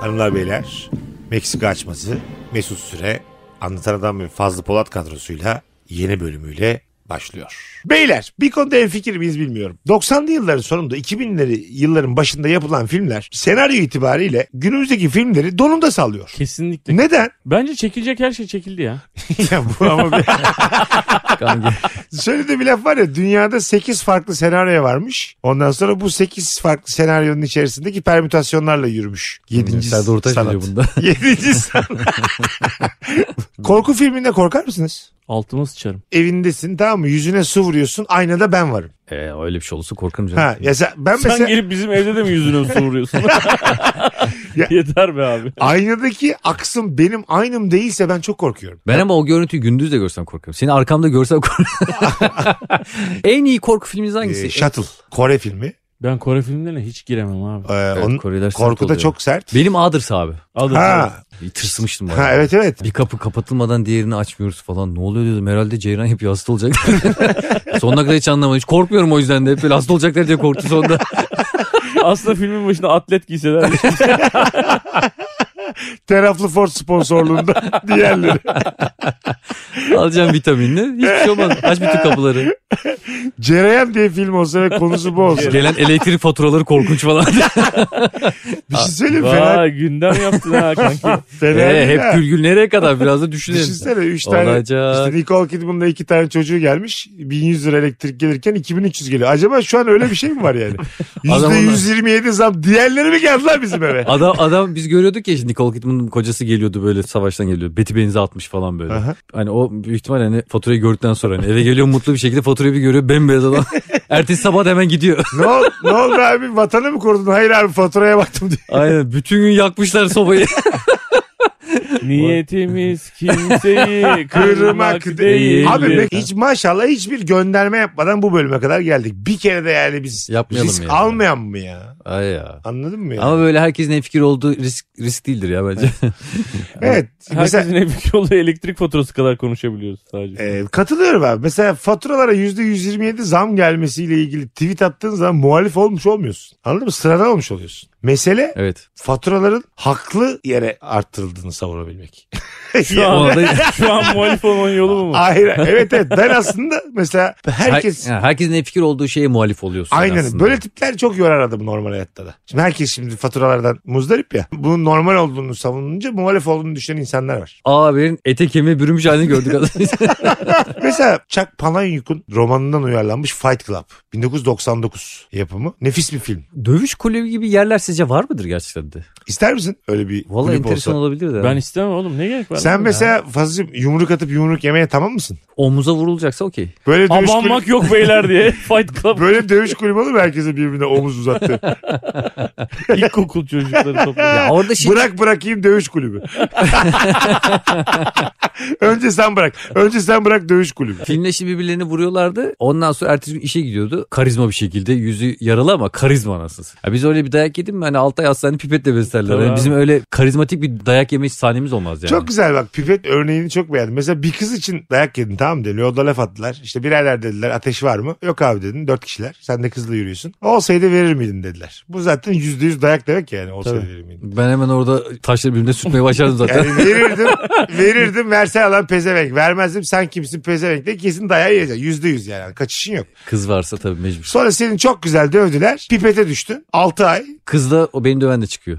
hanımlar beyler. Meksika açması Mesut Süre Anlatan Adam ve Fazlı Polat kadrosuyla yeni bölümüyle başlıyor. Beyler bir konuda en fikir miyiz bilmiyorum. 90'lı yılların sonunda 2000'leri yılların başında yapılan filmler senaryo itibariyle günümüzdeki filmleri donunda sallıyor. Kesinlikle. Neden? Bence çekilecek her şey çekildi ya. ya bu ama bir- Kanka. Söylediği bir laf var ya dünyada 8 farklı senaryo varmış. Ondan sonra bu 8 farklı senaryonun içerisindeki permütasyonlarla yürümüş. 7. Serdar Ortaç sanat. biliyor bunda. 7. sanat. Korku filminde korkar mısınız? Altıma sıçarım. Evindesin tamam mı? Yüzüne su vuruyorsun. Aynada ben varım. Ee, öyle bir şey olursa korkarım canım. Ha, ya sen- ben Sen mesela gelip bizim evde de mi yüzüne su vuruyorsun? Ya- Yeter be abi. aynadaki aksım benim aynım değilse ben çok korkuyorum. Ben ama o görüntüyü gündüz de görsem korkarım. Seni arkamda görsem korkarım. en iyi korku filminiz hangisi? Ee, Shuttle. Kore filmi. Ben Kore filmlerine hiç giremem abi. Ee, Evet, onun Koreliler sert korku da oluyor. çok sert. Benim Others abi. Aldım. Ha, Tırsmıştım bayağı. ha evet evet. Bir kapı kapatılmadan diğerini açmıyoruz falan. Ne oluyor diyordum. Herhalde Ceyran yapıyor hasta olacak. sonuna kadar hiç anlamadım. Hiç korkmuyorum o yüzden de. Hep böyle hasta olacaklar diye korktu sonunda. Aslında filmin başında atlet giyseler. Teraflı Ford sponsorluğunda diğerleri. Alacağım vitaminini. Hiçbir şey olmaz. Aç bütün kapıları. Cereyem diye film olsa ve konusu bu olsa. Gelen elektrik faturaları korkunç falan. Bir şey söyleyeyim mi? fena, Vay gündem yaptın ha kanki. fena ee, değil hep ha. gülgül nereye kadar biraz da düşünelim. Düşünsene 3 tane Olacak. hani işte Nicole Kidman'la 2 tane çocuğu gelmiş 1100 lira elektrik gelirken 2300 geliyor. Acaba şu an öyle bir şey mi var yani? Adam onlar- %127 zam diğerleri mi geldiler bizim eve? Adam adam biz görüyorduk ya işte Nicole Kidman'ın kocası geliyordu böyle savaştan geliyordu. Beti benzi atmış falan böyle. Aha. Hani o büyük ihtimal hani faturayı gördükten sonra hani eve geliyor mutlu bir şekilde faturayı bir görüyor bembeyaz adam. Ertesi sabah da hemen gidiyor. ne, ol, ne oldu abi vatanı mı korudun? Hayır abi faturaya baktım diye. Aynen bütün gün yakmışlar sobayı. Niyetimiz kimseyi Kırmak kırmak değil. Abi be- hiç maşallah hiçbir gönderme yapmadan bu bölüme kadar geldik. Bir kere de yani biz Yapmayalım risk yani. almayan mı ya? Ay ya. Anladın mı ya? Ama böyle herkesin en fikir olduğu risk risk değildir ya bence. evet. Mesela Herkesin en büyük olduğu elektrik faturası kadar konuşabiliyoruz sadece. Ee, katılıyorum abi. Mesela faturalara %127 zam gelmesiyle ilgili tweet attığın zaman muhalif olmuş olmuyorsun. Anladın mı? Sıradan olmuş oluyorsun. Mesele evet. faturaların haklı yere arttırıldığını savunabilmek. e, Şu O an, anda şu an muhalif olmanın yolu mu? bu? Hayır. Evet evet. Ben aslında mesela herkes... Her- yani herkesin en fikir olduğu şeye muhalif oluyorsun Aynen. aslında. Böyle tipler çok yorar adamı normal hayatta da. Şimdi herkes şimdi faturalardan muzdarip ya. Bunun normal olduğunu savununca muhalif olduğunu düşünen insanlar var. Ağabeyin ete kemiğe bürünmüş halini gördük adam. Mesela Chuck Palahniuk'un romanından uyarlanmış Fight Club. 1999 yapımı. Nefis bir film. Dövüş kulübü gibi yerler sizce var mıdır gerçekten de? İster misin öyle bir Vallahi kulüp enteresan olsa? olabilir de. Ben istemem oğlum ne gerek var? Sen mesela Fazlıcığım yumruk atıp yumruk yemeye tamam mısın? Omuza vurulacaksa okey. Böyle dövüş, kulübü, Abanmak yok beyler diye. Fight Club böyle dövüş kulübü olur mu herkese birbirine omuz uzattı? ilkokul çocukları topluyor. Ya orada şey Bırak bırakayım dövüş kulübü. Önce sen bırak. Önce sen bırak dövüş kulübü. filmle şimdi birbirlerini vuruyorlardı. Ondan sonra ertesi gün işe gidiyordu. Karizma bir şekilde yüzü yaralı ama karizma anasız. Ya biz öyle bir dayak yedim mi hani altı ay hastane pipetle beslerler. Tabii Hani abi. bizim öyle karizmatik bir dayak yeme sahnemiz olmaz yani. Çok güzel bak pipet örneğini çok beğendim. Mesela bir kız için dayak yedin tamam mı? dedi. Yolda laf attılar. İşte birerler dediler ateş var mı? Yok abi dedin. Dört kişiler. Sen de kızla yürüyorsun. Olsaydı verir miydin dediler. Bu zaten yüzde yüz dayak demek yani. Olsaydı Tabii. verir miydin? Ben hemen orada taşları birbirine sürtmeye başladım zaten. Yani verirdim, verirdim verse alan pezevenk. Vermezdim sen kimsin pezevenk diye kesin dayağı yiyeceksin. Yüzde yüz yani. Kaçışın yok. Kız varsa tabii mecbur. Sonra senin çok güzel dövdüler. Pipete düştün. 6 ay. Kız da o beni döven de çıkıyor.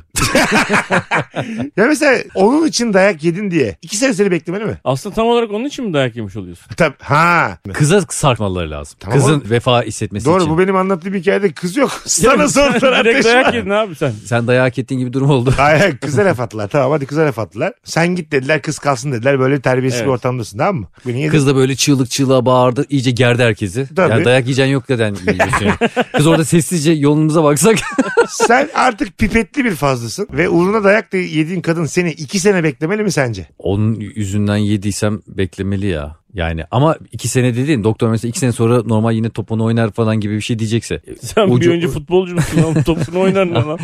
Ya mesela onun için dayak yedin diye. 2 sene seni beklemeli mi? Aslında tam olarak onun için mi dayak yemiş oluyorsun? Tabii. Ha. Kıza sarkmaları lazım. Tamam Kızın oğlum. vefa hissetmesi Doğru için. bu benim anlattığım hikayede kız yok. Sana sordular Direkt ateş dayak var. yedin abi sen. Sen dayak ettiğin gibi durum oldu. Hayır kıza laf attılar. Tamam hadi kıza laf attılar. Sen git dediler kız kalsın dediler. Böyle terbiyesiz Evet. bir ortamdasın tamam mı? Bu niye Kız da böyle çığlık çığlığa bağırdı. iyice gerdi herkesi. Tabii. Yani dayak yiyeceğin yok neden yiyorsun? Kız orada sessizce yolumuza baksak. Sen artık pipetli bir fazlasın ve uğruna dayak da yediğin kadın seni 2 sene beklemeli mi sence? Onun yüzünden yediysem beklemeli ya. Yani ama iki sene dediğin doktor mesela iki sene sonra normal yine topunu oynar falan gibi bir şey diyecekse. Sen bir Ucu- önce futbolcu musun lan? Topunu oynar ne lan?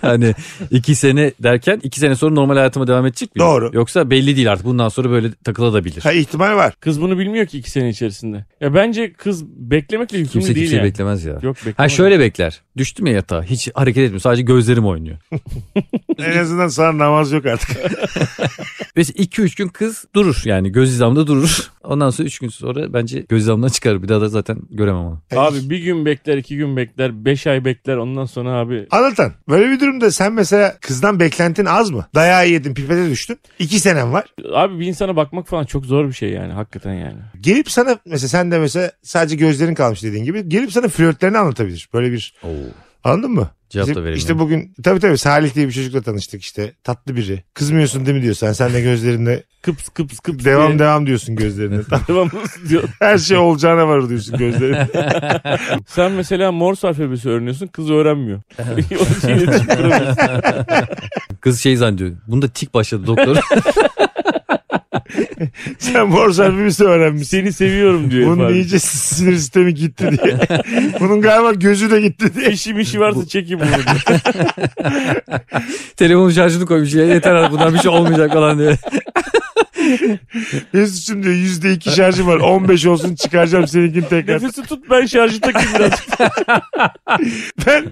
hani iki sene derken iki sene sonra normal hayatıma devam edecek mi? Doğru. Yoksa belli değil artık bundan sonra böyle takılabilir. Ha, ihtimal var. Kız bunu bilmiyor ki iki sene içerisinde. Ya bence kız beklemekle yükümlü Kimse değil kimseyi yani. beklemez ya. Yok beklemez. Ha şöyle bekler. Düştüm ya yatağa. Hiç hareket etmiyor. Sadece gözlerim oynuyor. En azından sana namaz yok artık. Mesela 2-3 gün kız durur yani göz hizamda durur. Ondan sonra 3 gün sonra bence göz hizamdan çıkar. Bir daha da zaten göremem onu. Abi bir gün bekler, iki gün bekler, beş ay bekler ondan sonra abi. Anlatan böyle bir durumda sen mesela kızdan beklentin az mı? Dayağı yedin pipete düştün. İki senem var. Abi bir insana bakmak falan çok zor bir şey yani hakikaten yani. Gelip sana mesela sen de mesela sadece gözlerin kalmış dediğin gibi. Gelip sana flörtlerini anlatabilir. Böyle bir anladın mı? Cevap da İşte- verelim. İşte bugün tabii tabii Salih diye bir çocukla tanıştık işte. Tatlı biri. Kızmıyorsun değil mi diyor sen. Sen de gözlerinde Kıps kıps kıps devam diye. devam diyorsun gözlerinde. Devam diyor. Her şey olacağına varır diyorsun gözlerinde. Sen mesela Morse alfabesi öğreniyorsun kız öğrenmiyor. O şey şeyle çıkıyor. Kız şey zannediyor. Bunda tik başladı doktor. sen borsa alfabesi öğrenmişsin. Seni seviyorum diyor. herif Bunun abi. iyice sinir sistemi gitti diye. Bunun galiba gözü de gitti diye. İşim işi varsa çekin bunu diyor. Telefonun şarjını koymuş. Ya, yeter artık bundan bir şey olmayacak falan diye. Mesut'cum diyor yüzde iki şarjım var. 15 olsun çıkaracağım seninkini tekrar. Nefesi tut ben şarjı takayım birazcık. Ben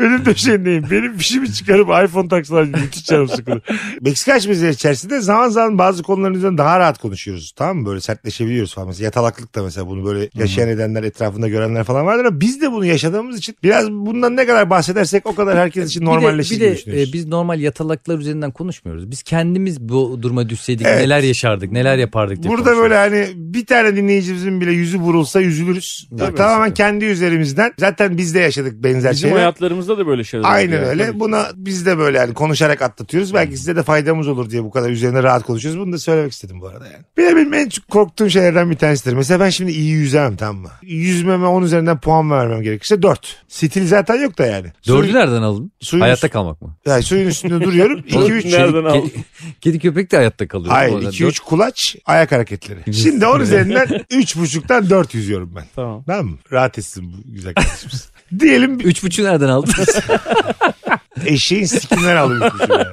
benim döşeğindeyim. Benim fişimi çıkarıp iPhone taksalar müthiş canım sıkılır. Meksika açmazları içerisinde zaman zaman bazı konuların üzerinde daha rahat konuşuyoruz. Tamam mı? Böyle sertleşebiliyoruz falan. Mesela yatalaklık da mesela bunu böyle yaşayan edenler etrafında görenler falan vardır ama biz de bunu yaşadığımız için biraz bundan ne kadar bahsedersek o kadar herkes için normalleşir bir de, gibi bir de düşünüyoruz. e, biz normal yatalaklar üzerinden konuşmuyoruz. Biz kendimiz bu duruma düşseydik Evet. neler yaşardık, neler yapardık diye Burada konuşuyoruz. böyle hani bir tane dinleyicimizin bile yüzü vurulsa üzülürüz. Tabii. Tamamen kendi üzerimizden. Zaten biz de yaşadık benzer Bizim şeyler. hayatlarımızda da böyle şeyler oldu Aynen yani. öyle. Tabii. Buna biz de böyle yani konuşarak atlatıyoruz. Belki Hmm. size de faydamız olur diye bu kadar üzerine rahat konuşuyoruz. Bunu da söylemek istedim bu arada yani. Bir de benim en çok korktuğum şeylerden bir tanesidir. Mesela ben şimdi iyi yüzemem tamam mı? Yüzmeme 10 üzerinden puan vermem gerekirse 4. Stil zaten yok da yani. Dördü Suyun- nereden aldın? suyun, Hayatta kalmak mı? yani suyun üstünde duruyorum. 2-3 Nereden Kedi- aldın? Kedi köpek de hayatta kalıyor. Hayır Bu arada 2-3 kulaç ayak hareketleri. Şimdi 10 üzerinden 3.5'tan 4 yüzüyorum ben. Tamam. Tamam mı? Rahat etsin bu güzel kardeşimiz. Diyelim bir Üç buçuğu nereden aldın? eşeğin sikinden alıyoruz. Yani.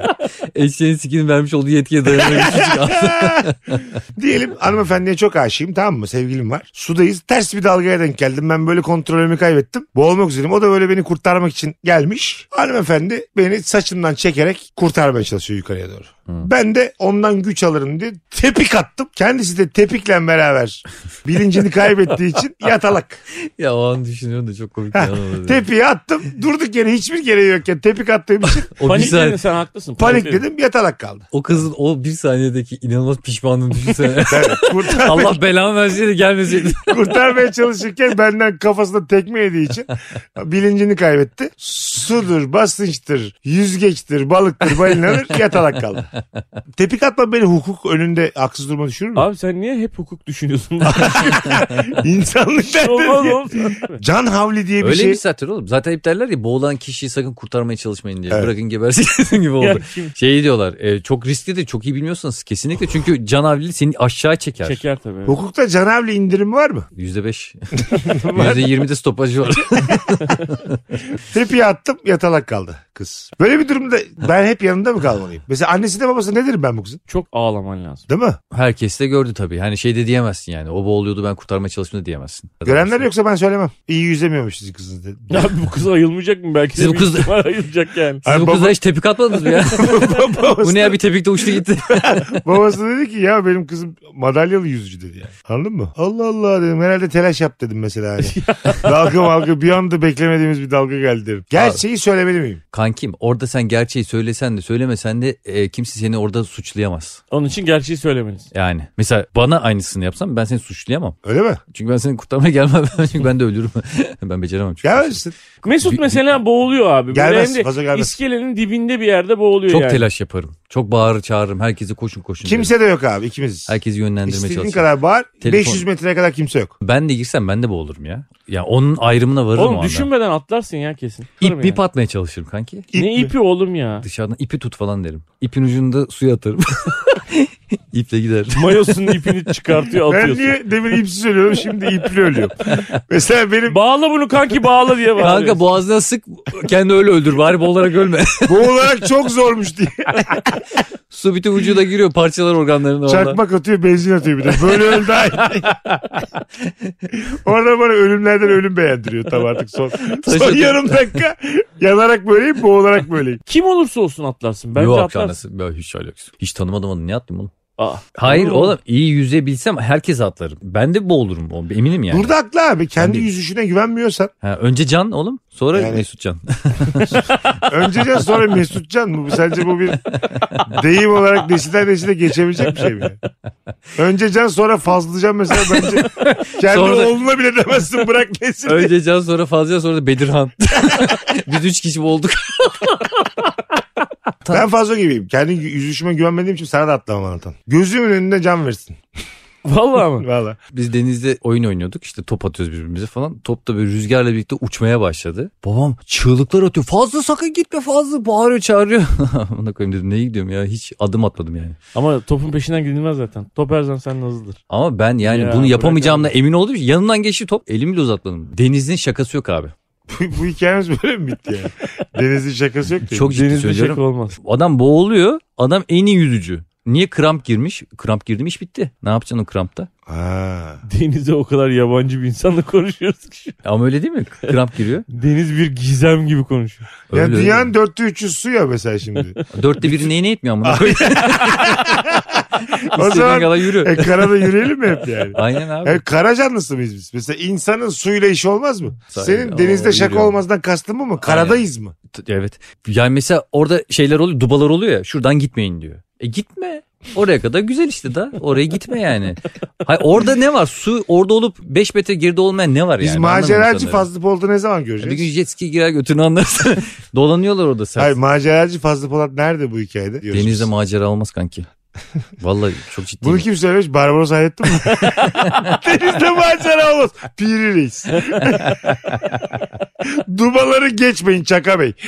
Eşeğin sikini vermiş olduğu yetkiye dayanarak üç buçuk aldın. Diyelim hanımefendiye çok aşığım tamam mı sevgilim var. Sudayız ters bir dalgaya denk geldim ben böyle kontrolümü kaybettim. Boğulmak üzereyim o da böyle beni kurtarmak için gelmiş. Hanımefendi beni saçımdan çekerek kurtarmaya çalışıyor yukarıya doğru. Ben de ondan güç alırım diye tepik attım. Kendisi de tepikle beraber bilincini kaybettiği için yatalak. ya o an düşünüyorum da çok komik bir an oldu. Tepiği attım durduk yere hiçbir gereği yokken tepik attığım için O bir Panikledin saniye, sen haklısın. panikledim yatalak kaldı. o kızın o bir saniyedeki inanılmaz pişmanlığını düşünsene. Evet, kurtar- Allah belamı verseydi gelmeseydi. kurtarmaya çalışırken benden kafasına tekme yediği için bilincini kaybetti. Sudur, basınçtır, yüzgeçtir, balıktır, balinadır yatalak kaldı. Tepik atma beni hukuk önünde haksız duruma düşürür mü? Abi sen niye hep hukuk düşünüyorsun? İnsanlık derdi Olmaz diye. olmaz. Can havli diye bir Öyle şey. bir satır oğlum. Zaten hep derler ya boğulan kişiyi sakın kurtarmaya çalışmayın diye. Evet. Bırakın gebersin gibi Ya oldu. kim Şey diyorlar e, çok riskli de çok iyi bilmiyorsanız kesinlikle çünkü canavliliği seni aşağı çeker. Çeker tabii. Hukukta can havli indirimi var mı? Yüzde beş. Yüzde yirmi de stopajı var. Tepiği attım yatalak kaldı kız. Böyle bir durumda ben hep yanında mı kalmalıyım? Mesela annesi de babası nedir ben bu kızın? Çok ağlaman lazım. Değil mi? Herkes de gördü tabii. Hani şey de diyemezsin yani. O boğuluyordu ben kurtarmaya çalıştım da diyemezsin. Görenler yoksa ben söylemem. İyi yüzemiyormuş sizin kızınız dedi. Ya bu kız ayılmayacak mı belki? Siz bu Bir kız- ihtimal ayılacak yani. Siz Ay bu baba- kıza hiç tepik atmadınız mı ya? Babası- bu ne ya bir tepikte uçtu gitti. Babası dedi ki ya benim kızım madalyalı yüzücü dedi yani. Anladın mı? Allah Allah dedim herhalde telaş yap dedim mesela. Hani. dalga malga bir anda beklemediğimiz bir dalga geldi dedim. Gerçeği söylemeli miyim? Kankim orada sen gerçeği söylesen de söylemesen de e, kimse seni orada suçlayamaz. Onun için gerçeği söylemelisin. Yani mesela bana aynısını yapsam ben seni suçlayamam. Öyle mi? Çünkü ben seni kurtarmaya gelmem. Çünkü ben de ölürüm. ben beceremem çünkü. Gelmezsin. Mesut mesela boğuluyor abi. Böyle Gelmez, hem de fazla gelmez. İskelenin dibinde bir yerde boğuluyor Çok yani. telaş yaparım. Çok bağırır çağırırım. Herkese koşun koşun. derim. Kimse de yok abi ikimiz. Herkesi yönlendirmeye İstediğin çalışırım. kadar bağır. Telefon. 500 metreye kadar kimse yok. Ben de girsem ben de boğulurum ya. Ya onun ayrımına varırım o Oğlum anda. düşünmeden atlarsın ya kesin. İp Atarım ip yani. atmaya çalışırım kanki. İp Ne mi? ipi oğlum ya? Dışarıdan ipi tut falan derim. İpin ucunu da suya atarım. İple gider. Mayosunun ipini çıkartıyor Ben atıyorsun. niye demin ipsiz ölüyorum şimdi ipli ölüyorum. Mesela benim Bağla bunu kanki bağla diye bağırıyor. Kanka boğazına sık kendi öyle öldür bari boğularak ölme. boğularak çok zormuş diye. Su bütün vücuda giriyor parçalar organlarına valla. Çakmak atıyor benzin atıyor bir de. Böyle öl daha iyi. Orada bana ölümlerden ölüm beğendiriyor tam artık son. son Taşıdı. yarım dakika yanarak böyleyim boğularak böyleyim. Kim olursa olsun atlarsın. Bence Yok atlarsın. anasın. Yok, hiç alakası. yok. Hiç tanımadım onu. Niye attım oğlum? Aa, Hayır olur mu? oğlum iyi yüzebilsem herkes atlarım. Ben de boğulurum oğlum. Eminim yani. Burada haklı abi kendi Ben de- yüzüşüne güvenmiyorsan. Ha, önce Can oğlum sonra Yani- Mesut Can. Önce Can, sonra Mesutcan mı? Sence bu bir deyim olarak nesilden nesile geçebilecek bir şey mi? yani? Önce Can sonra Fazlıcan mesela bence kendi Sonra da- oğluna bile demezsin bırak nesil. önce Can sonra Fazla sonra da Bedirhan. Biz üç kişi olduk. Ben fazla gibiyim. Kendi yüzüşüme güvenmediğim için sana da atlamam anlatan. Gözümün önünde can versin. Vallahi mı? Valla. Biz denizde oyun oynuyorduk işte top atıyoruz birbirimize falan. Top da böyle rüzgarla birlikte uçmaya başladı. Babam çığlıklar atıyor. Fazla sakın gitme fazla bağırıyor çağırıyor. Ona koyayım dedim neye gidiyorum ya hiç adım atmadım yani. Ama topun peşinden gidilmez zaten. Top her zaman senden hızlıdır. Ama ben yani Ya, bunu bırak yapamayacağımdan emin olduğum için yanından geçti top elimi bile uzatmadım. Denizin şakası yok abi. Bu, bu hikayemiz böyle mi bitti yani? Deniz'in şakası yok ki. Çok ciddi Denizde söylüyorum. şaka olmaz. Adam boğuluyor. Adam en iyi yüzücü. Niye kramp girmiş? Kramp girdi mi iş bitti. Ne yapacaksın o krampta? Ha. Denize o kadar yabancı bir insanla konuşuyoruz ki. şu an. Ama öyle değil mi? Kramp giriyor. Deniz bir gizem gibi konuşuyor. Ya Öyle, dünyanın dörtte üçü su ya mesela şimdi. öyle. Dörtte biri neyine yetmiyor amına koyayım. o İstediğin zaman kadar yürü. e, karada yürüyelim mi hep yani? Aynen abi. E, kara canlısı mıyız biz? Mesela insanın suyla işi olmaz mı? Sahi, Senin o- denizde şaka yürüyorum. olmazdan kastın bu mu? Karadayız mı? T- Evet. Yani mesela orada şeyler oluyor, dubalar oluyor ya. Şuradan gitmeyin diyor. E gitme. Oraya kadar güzel işte da. Oraya gitme yani. Hayır, orada ne var? Su orada olup 5 metre geride olmayan ne var Biz yani? Ben anlamıyorum maceracı sanırım. Fazlı Polat'ı ne zaman Bir gün göreceğiz? jet ski girer götünü anlarsın. Dolanıyorlar orada sen. Hayır maceracı Fazlı Polat nerede bu hikayede? Diyoruz Denizde biz. macera olmaz kanki. Vallahi çok ciddi. Bunu kim söylemiş? Barbaros Hayrettin mi? Denizde macera olmaz. Piri reis. Dubaları geçmeyin Çaka Bey.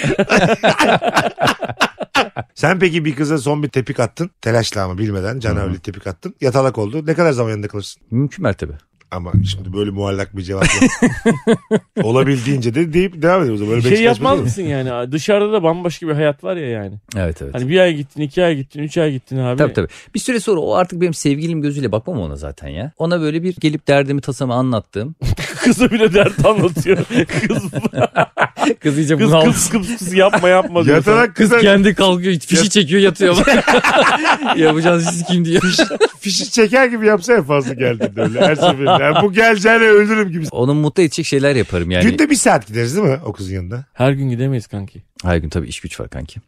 Sen peki bir kıza son bir tepik attın. Telaşla ama bilmeden canavli tepik attın. Yatalak oldu. Ne kadar zaman yanında kalırsın? Mümkün mertebe. Ama şimdi böyle muallak bir cevap yok. Olabildiğince de deyip devam ediyoruz. Böyle şey Beşiktaş yapmaz maçı mısın yani? Dışarıda da bambaşka bir hayat var ya yani. Evet evet. Hani bir ay gittin, iki ay gittin, üç ay gittin abi. Tabii tabii. Bir süre sonra o artık benim sevgilim gözüyle bakmam ona zaten ya. Ona böyle bir gelip derdimi tasamı anlattığım. Kıza bile dert anlatıyor. kız, Kız iyice kız, kız, kız, kız yapma yapma oluyor. diyor. sana. Yatalak kıza Kendi kalkıyor fişi çekiyor yatıyor. Yapacağınız siz kim diyor. fişi çeker gibi yapsa ya fazla geldi de öyle her seferinde. Yani bu geleceğine öldürürüm gibi. Onu mutlu edecek şeyler yaparım yani. Günde bir saat gideriz değil mi o kızın yanında? Her gün gidemeyiz kanki. Her gün tabii iş güç var kanki.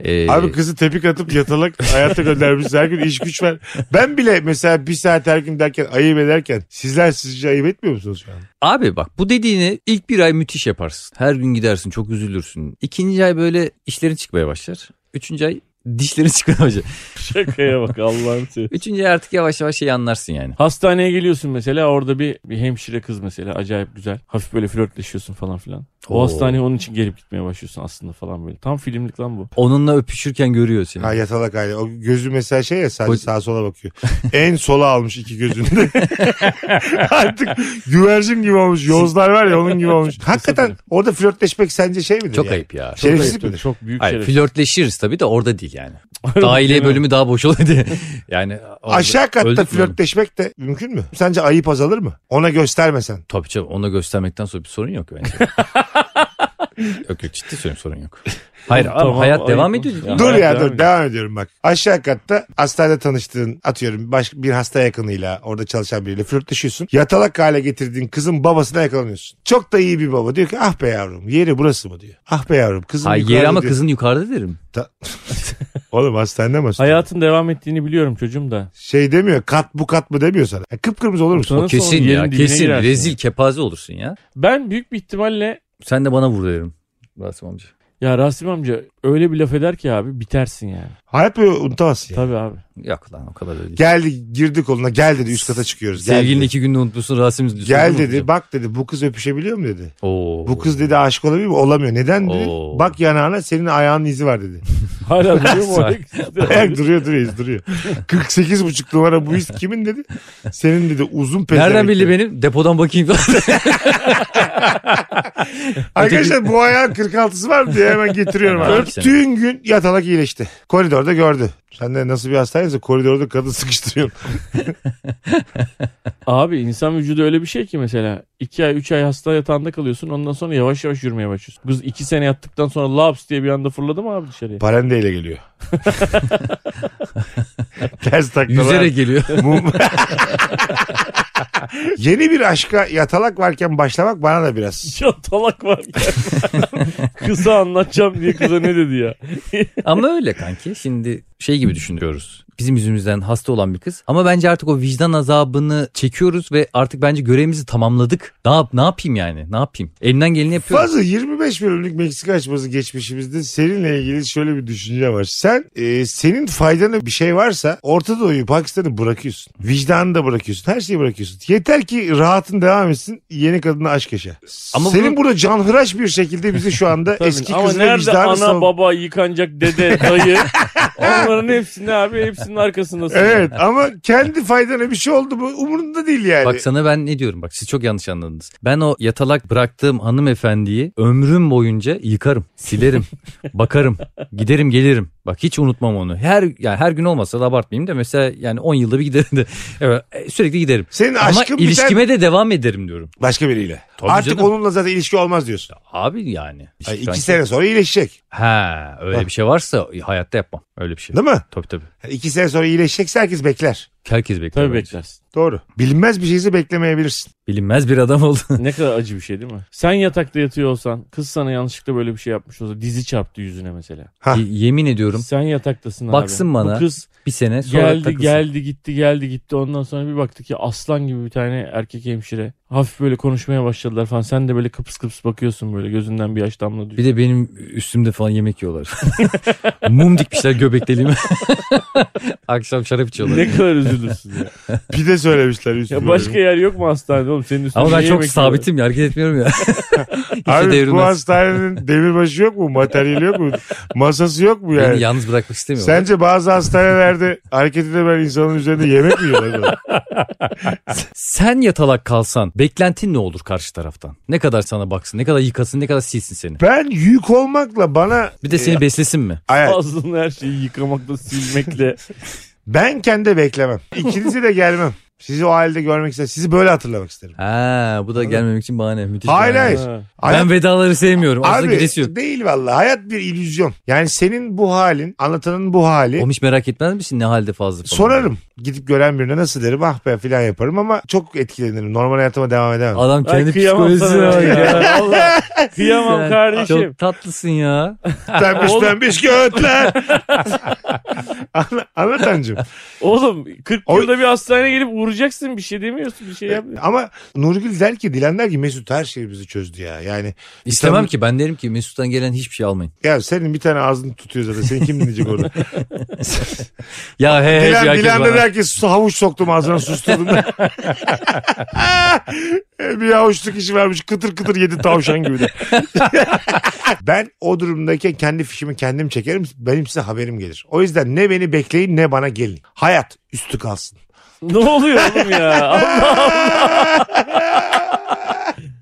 Ee, Abi kızı tepik atıp yatalak hayata göndermiş her gün iş güç ver. Ben bile mesela bir saat her gün derken ayıp ederken sizler sizce ayıp etmiyor musunuz şu an? Abi bak bu dediğini ilk bir ay müthiş yaparsın. Her gün gidersin çok üzülürsün. İkinci ay böyle işlerin çıkmaya başlar. Üçüncü ay dişlerin çıkmaya başlar. Şakaya bak Allah'ını seversen. Üçüncü ay artık yavaş yavaş şeyi anlarsın yani. Hastaneye geliyorsun mesela orada bir, bir hemşire kız mesela acayip güzel. Hafif böyle flörtleşiyorsun falan filan. O Oo. hastaneye onun için gelip gitmeye başlıyorsun aslında falan böyle. Tam filmlik lan bu. Onunla öpüşürken görüyor seni. Ha yatalak aile. O gözü mesela şey ya sadece Koy- sağa sola bakıyor. en sola almış iki gözünde. Artık güvercin gibi olmuş. Yozlar var ya onun gibi olmuş. Hakikaten orada flörtleşmek sence şey midir? Çok yani? ayıp ya. Şerefsiz Çok ayıp, midir? Çok büyük Hayır, şeref. flörtleşiriz tabii de orada değil yani. Daire bölümü daha boş oluyor diye. Yani orada Aşağı katta öldük mü oğlum? flörtleşmek de mümkün mü? Sence ayıp azalır mı? Ona göstermesen. Tabii canım ona göstermekten sonra bir sorun yok bence. yok yok ciddi söylüyorum sorun yok. Hayır abi Tamam, hayat ayıp devam mı? ediyor. Ya. Dur Evet, ya devam dur et. devam ediyorum bak. Aşağı katta hastanede tanıştığın atıyorum başka bir hasta yakınıyla orada çalışan biriyle flörtleşiyorsun. Yatalak hale getirdiğin kızın babasına yakalanıyorsun. Çok da iyi bir baba diyor ki ah be yavrum yeri burası mı diyor. Ah be yavrum kızım Hayır yeri yukarıda ama diyor. kızın yukarıda derim. Oğlum hastanede mi hastane? Hayatın devam ettiğini biliyorum çocuğum da. Şey demiyor kat bu kat mı demiyor sana. Ya kıpkırmızı olur musun? Sonra O kesin sonra ya yerin dibine kesin girersin. rezil kepaze olursun ya. Ben büyük bir ihtimalle Sen de bana vur derim. Rasim amca. ya Rasim amca öyle bir laf eder ki abi bitersin yani. Hayat boyu unutamazsın. Yani. Tabii abi. Yok lan o kadar da değil. Geldi girdi koluna gel dedi üst kata çıkıyoruz. Gel Sevgilini dedi. iki günde unutmuşsun Rasim'iz. Gel dedi bak dedi bu kız öpüşebiliyor mu dedi. Oo. Bu kız dedi aşık olabiliyor mu? Olamıyor. Neden dedi. Oo. Bak yanağına senin ayağının izi var dedi. Hala duruyor mu? Sahi. Ayak- Ayak duruyor duruyor iz duruyor. 48 buçuk numara bu iz kimin dedi. Senin dedi uzun pezevenk. Nereden dedi. belli benim? Depodan bakayım. Arkadaşlar bu ayağın 46'sı var mı diye hemen getiriyorum abi. Tamam, işte. Öptüğün gün yatalak iyileşti. Koridorda gördü. Sen de nasıl bir hastaneyse koridorda kadın sıkıştırıyorsun. Abi insan vücudu öyle bir şey ki mesela 2 ay 3 ay hasta yatağında kalıyorsun ondan sonra yavaş yavaş yürümeye başlıyorsun. Kız 2 sene yattıktan sonra laps diye bir anda fırladı mı abi dışarıya? Parendeyle geliyor. Ters taklalar. Yüzerek geliyor. Mum- Yeni bir aşka yatalak varken başlamak bana da biraz. Ya talak var ya. Kıza anlatacağım diye kıza ne dedi ya? Ama öyle kanki. Şimdi şey gibi düşünüyoruz. Bizim yüzümüzden hasta olan bir kız. Ama bence artık o vicdan azabını çekiyoruz ve artık bence görevimizi tamamladık. Ne yap ne yapayım yani? Ne yapayım? Elinden geleni yapıyoruz. Fazla 25 bölümlük Meksika açması geçmişimizde seninle ilgili şöyle bir düşünce var. Sen e, senin faydana bir şey varsa Orta Doğu'yu Pakistan'ı bırakıyorsun. Vicdanını da bırakıyorsun. Her şeyi bırakıyorsun. Yeter ki rahatın devam etsin. Yeni kadına aşk yaşa. Ama senin bunu- burada canhıraş bir şekilde bizi şu anda Tabii. eski Ama kızla nerede vicdanı ana savun- baba yıkanacak dede dayı? Onların hepsini abi hepsinin arkasındasın. Evet ama kendi faydana bir şey oldu mu umurunda değil yani. Bak sana ben ne diyorum bak siz çok yanlış anladınız. Ben o yatalak bıraktığım hanımefendiyi ömrüm boyunca yıkarım, silerim, bakarım, giderim gelirim. Bak hiç unutmam onu. Her yani her gün olmasa da abartmayayım da mesela yani 10 yılda bir giderim de. Evet, e, sürekli giderim. Senin Ama aşkın biter ilişkime de devam ederim diyorum. başka biriyle. Tabii Artık canım. onunla zaten ilişki olmaz diyorsun. Abi yani. Ay, iki Sanki- sene sonra iyileşecek. Ha öyle Ha. bir şey varsa hayatta yapmam. Öyle bir şey. Değil mi? Tabii tabii. İki sene sonra iyileşecekse herkes bekler. Herkes bekler. Tabii bence. beklersin. Doğru. Bilinmez bir şeyse beklemeyebilirsin. Bilinmez bir adam oldu. Ne kadar acı bir şey değil mi? Sen yatakta yatıyor olsan kız sana yanlışlıkla böyle bir şey yapmış olsa dizi çarptı yüzüne mesela. Ha. Y- yemin ediyorum Sen yataktasın Baksın abi. bana. Bu kız bir sene sonra geldi takılsın. geldi gitti geldi gitti ondan sonra bir baktık ki aslan gibi bir tane erkek hemşire. Hafif böyle konuşmaya başladılar falan. Sen de böyle kıpıs kıpıs bakıyorsun böyle gözünden bir yaş damla Bir düşüyor. de benim üstümde falan yemek yiyorlar. Mum dikmişler göbekliliğime. Akşam şarap içiyorlar. Ne kadar üzülürsün ya. Pide söylemişler üstüne. ya başka yer yok mu hastanede oğlum senin üstüne Ama ben niye çok yemek sabitim ya hareket etmiyorum ya. İşte Abi bu devrilmez. hastanenin demirbaşı yok mu? Materyali yok mu? Masası yok mu Beni yani? yalnız bırakmak istemiyorum. Sence bazı hastanelerde hareket edemeyen insanın üzerinde yemek mi yiyorlar? Sen yatalak kalsan beklentin ne olur karşı taraftan? Ne kadar sana baksın, ne kadar yıkasın, ne kadar silsin seni. ben yük olmakla bana... Bir de seni beslesin mi? Ay, Ağzını her şeyi yıkamakla silmekle. ben kendi beklemem. İkinizi de gelmem. Sizi o halde görmek isterim. Sizi böyle hatırlamak isterim. Ha, bu da Anladım. gelmemek için bahane. Müthiş Hayır, bahane. hayır. Ha. Hayat- Ben vedaları sevmiyorum. Aslında Abi giresi yok. değil vallahi hayat bir illüzyon. Yani senin bu halin, anlatanın bu hali. Oğlum hiç merak etmez misin ne halde fazla falan? e- Sorarım. Gidip gören birine nasıl derim ah be filan yaparım ama çok etkilenirim. Normal hayatıma devam edemem. Adam Ay, kendi kıyamam psikolojisine sana bak ya. ya. Vallahi kıyamam Sen kardeşim. Çok tatlısın ya. Pembiş Oğlum. pembiş göğütler. Anla- Anlatancım. Oğlum 40 Oy. E, yılda bir hastaneye gelip vuracaksın bir şey demiyorsun bir şey yapmıyorsun. Ama Nurgül der ki Dilan der ki Mesut her şeyi bizi çözdü ya. Yani İstemem Tabii. ki ben derim ki Mesut'tan gelen hiçbir şey almayın. ya senin bir tane ağzını tutuyor zaten. Seni kim dinleyecek orada? Ya he he Dilan, herkes Dilan da bana. der ki "Su- havuç soktum ağzına susturdum. bir havuçluk işi vermiş kıtır kıtır yedi tavşan gibi de. ben o durumdayken kendi fişimi kendim çekerim. Benim size haberim gelir. O yüzden ne beni bekleyin ne bana gelin. Hayat üstü kalsın. Ne oluyor oğlum ya? Allah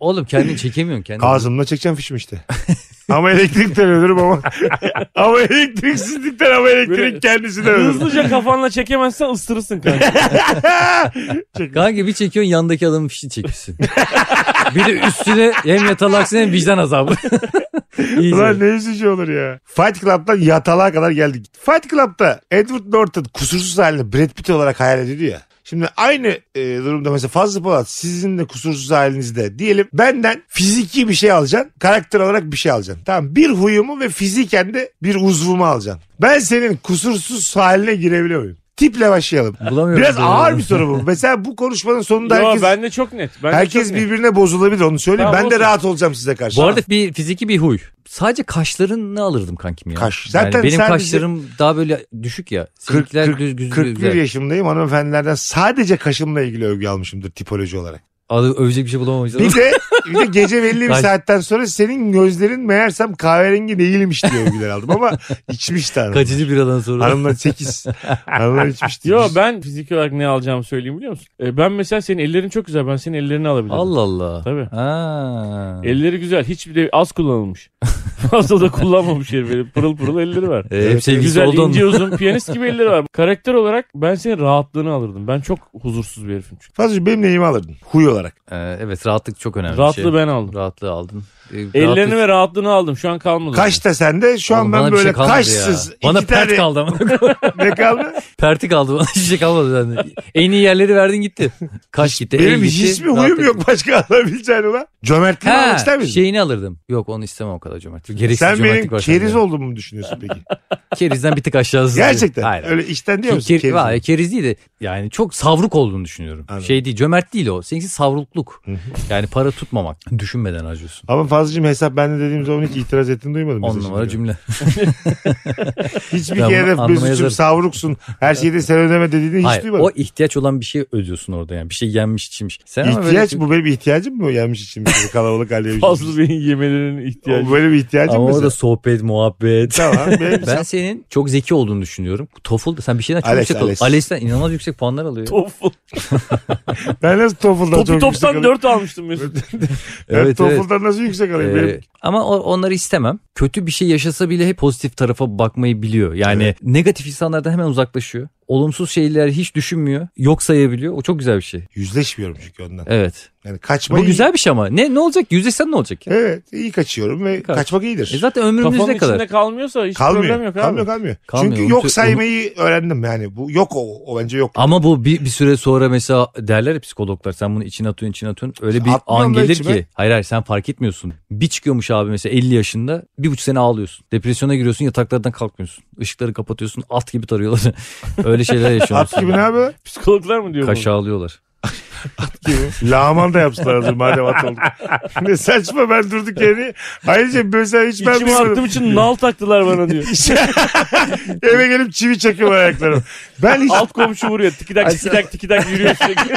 Oğlum kendini çekemiyorsun kendini. Ağzımla çekeceğim fişimi işte. ama elektrikten ölürüm ama. ama elektriksizlikten ama Böyle elektrik kendisinden ölürüm. hızlıca kafanla çekemezsen ısırırsın kanka. Kanka bir çekiyorsun yandaki adamın fişini çekiyorsun. bir de üstüne hem yatalaksın hem vicdan azabı. İyice. Ulan ne üzücü olur ya. Fight Club'dan yatalığa kadar geldik. Fight Club'da Edward Norton kusursuz halini Brad Pitt olarak hayal ediyor ya. Şimdi aynı e, durumda mesela Fazlı Polat sizin de kusursuz halinizde diyelim benden fiziki bir şey alacaksın karakter olarak bir şey alacaksın. Tamam bir huyumu ve fiziken de bir uzvumu alacaksın. Ben senin kusursuz haline girebiliyor muyum? tiple başlayalım. Bulamıyorum. Biraz böyle. ağır bir soru bu. Mesela bu konuşmanın sonunda herkes, Yo, ben de çok net. Ben de herkes çok net. birbirine bozulabilir onu söyleyeyim. Tamam, ben de olsun. rahat olacağım size karşı. Bu arada bir fiziki bir huy. Sadece kaşlarını alırdım kankim ya. Kaş. Yani Zaten benim sen kaşlarım daha böyle düşük ya. Kırk- Seninkiler kırk- düz düz 41 yaşındayım hanımefendilerden sadece kaşımla ilgili övgü almışımdır tipoloji olarak. Övecek bir şey bulamamışlar. Bir de, bir de gece belli bir Kaş. saatten sonra senin gözlerin meğersem kahverengi değilmiş diye övgüler aldım ama içmiş tanrım. Kaçıcı biradan sonra. Hanımlar 8. Hanımlar içmişti. Yo ben fiziki olarak ne alacağımı söyleyeyim biliyor musun? E, ben mesela senin ellerin çok güzel. Ben senin ellerini alabilirim. Allah Allah. Tabii. Ha. Elleri güzel. Hiç bir de az kullanılmış. Fazla da kullanmamış herif. Böyle Pırıl pırıl elleri var. Ee, hep sevgilisi Güzel oldun. ince uzun piyanist gibi elleri var. Karakter olarak ben senin rahatlığını alırdım. Ben çok huzursuz bir herifim çünkü. Fazla benim neyimi alırdın? Huy olarak. Ee, evet rahatlık çok önemli Rahatlığı bir şey. ben aldım. Rahatlığı aldın. Ee, Ellerini rahatlık- ve rahatlığını aldım. Şu an kalmadı. Kaş da sende. Şu Oğlum, an bana ben bir şey böyle kalmadı ya. kaşsız. iki Bana pert tane- kaldı ama. Ne kaldı? Perti kaldı bana. Hiçbir şey kalmadı sende. En iyi yerleri verdin gitti. Kaş gitti. el Benim gitti, hiçbir huyum rahatlık- yok başka alabileceğin ulan. Cömertliği mi almak ister Ha, misin? şeyini alırdım. Yok onu istemem o kadar cömertlik. Gereksiz Sen cömertlik benim var keriz sende. olduğumu mu düşünüyorsun peki? Kerizden bir tık aşağısın. Gerçekten. Hayır. Öyle içten diyor Ke- musun? Keriz, Keriz Hayır, keriz değil de yani çok savruk olduğunu düşünüyorum. Anladım. Şey değil cömert değil o. Seninki savrukluk. Hı hı. yani para tutmamak. Düşünmeden harcıyorsun. Ama fazlacığım hesap bende dediğim zaman hiç itiraz ettiğini duymadım. On mesajında. numara cümle. Hiçbir Ben bunu kere anlamaya Mesut'cum yazarım. savruksun. Her şeyi de sen ödeme dediğini hiç Hayır duymadım. o ihtiyaç olan bir şey ödüyorsun orada yani. Bir şey yenmiş içmiş. Sen ama böyle- İhtiyaç bu benim ihtiyacım mı? Gelmiş içimde bu kalabalık aileye. Fazla benim yemelerinin ihtiyacı. O böyle bir ihtiyacım Ama mı? orada sen? sohbet, muhabbet. Tamam. Benim Ben senin çok zeki olduğunu düşünüyorum. TOEFL sen bir şeyden çok Alex, yüksek Alex. alıyorsun. Alex'ten inanılmaz yüksek puanlar alıyor. Tofu. Ben nasıl TOEFL'dan Topu çok yüksek toptan alayım? 4 almıştım Mesut. Ben TOEFL'dan nasıl yüksek alayım? Ee, Benim ama o- onları istemem. Kötü bir şey yaşasa bile hep pozitif tarafa bakmayı biliyor. Yani Evet. negatif insanlardan hemen uzaklaşıyor. Olumsuz şeyler hiç düşünmüyor. Yok sayabiliyor. O çok güzel bir şey. yüzleşmiyorum çünkü ondan. Evet. Yani Bu kaçmayı... güzel bir şey ama. Ne ne olacak? Yüzleşsen ne olacak? ya? Evet iyi kaçıyorum ve Kaç. kaçmak iyidir. E zaten ömrümüz Kafanın ne kadar? içinde kalmıyorsa hiç Kalmıyor. problem yok abi. kalmıyor kalmıyor. Kalmıyor, Çünkü unutu- yok saymayı öğrendim yani. Bu yok o, o bence yok. Ama bu bir, bir süre sonra mesela derler ya psikologlar sen bunu içine atıyorsun içine atıyorsun. Öyle bir Atmıyorum an da gelir içime. ki. Hayır hayır sen fark etmiyorsun. Bir çıkıyormuş abi mesela 50 yaşında bir buçuk sene ağlıyorsun. Depresyona giriyorsun yataklardan kalkmıyorsun. Işıkları kapatıyorsun at gibi tarıyorlar. Öyle şeyler yaşıyorsun. At gibi ne abi? Psikologlar mı diyor Kaşa alıyorlar. Gibi. Lahman da yapsınlar hazır madem at olduk. ne saçma ben durduk yeri. Ayrıca mesela hiç bunu? ben şey- İçime duymadım. attığım için nal taktılar bana diyor. Eve gelip çivi çekiyor ayaklarım. Ben hiç Alt komşu vuruyor. Tikidak tikidak tikidak yürüyor sürekli.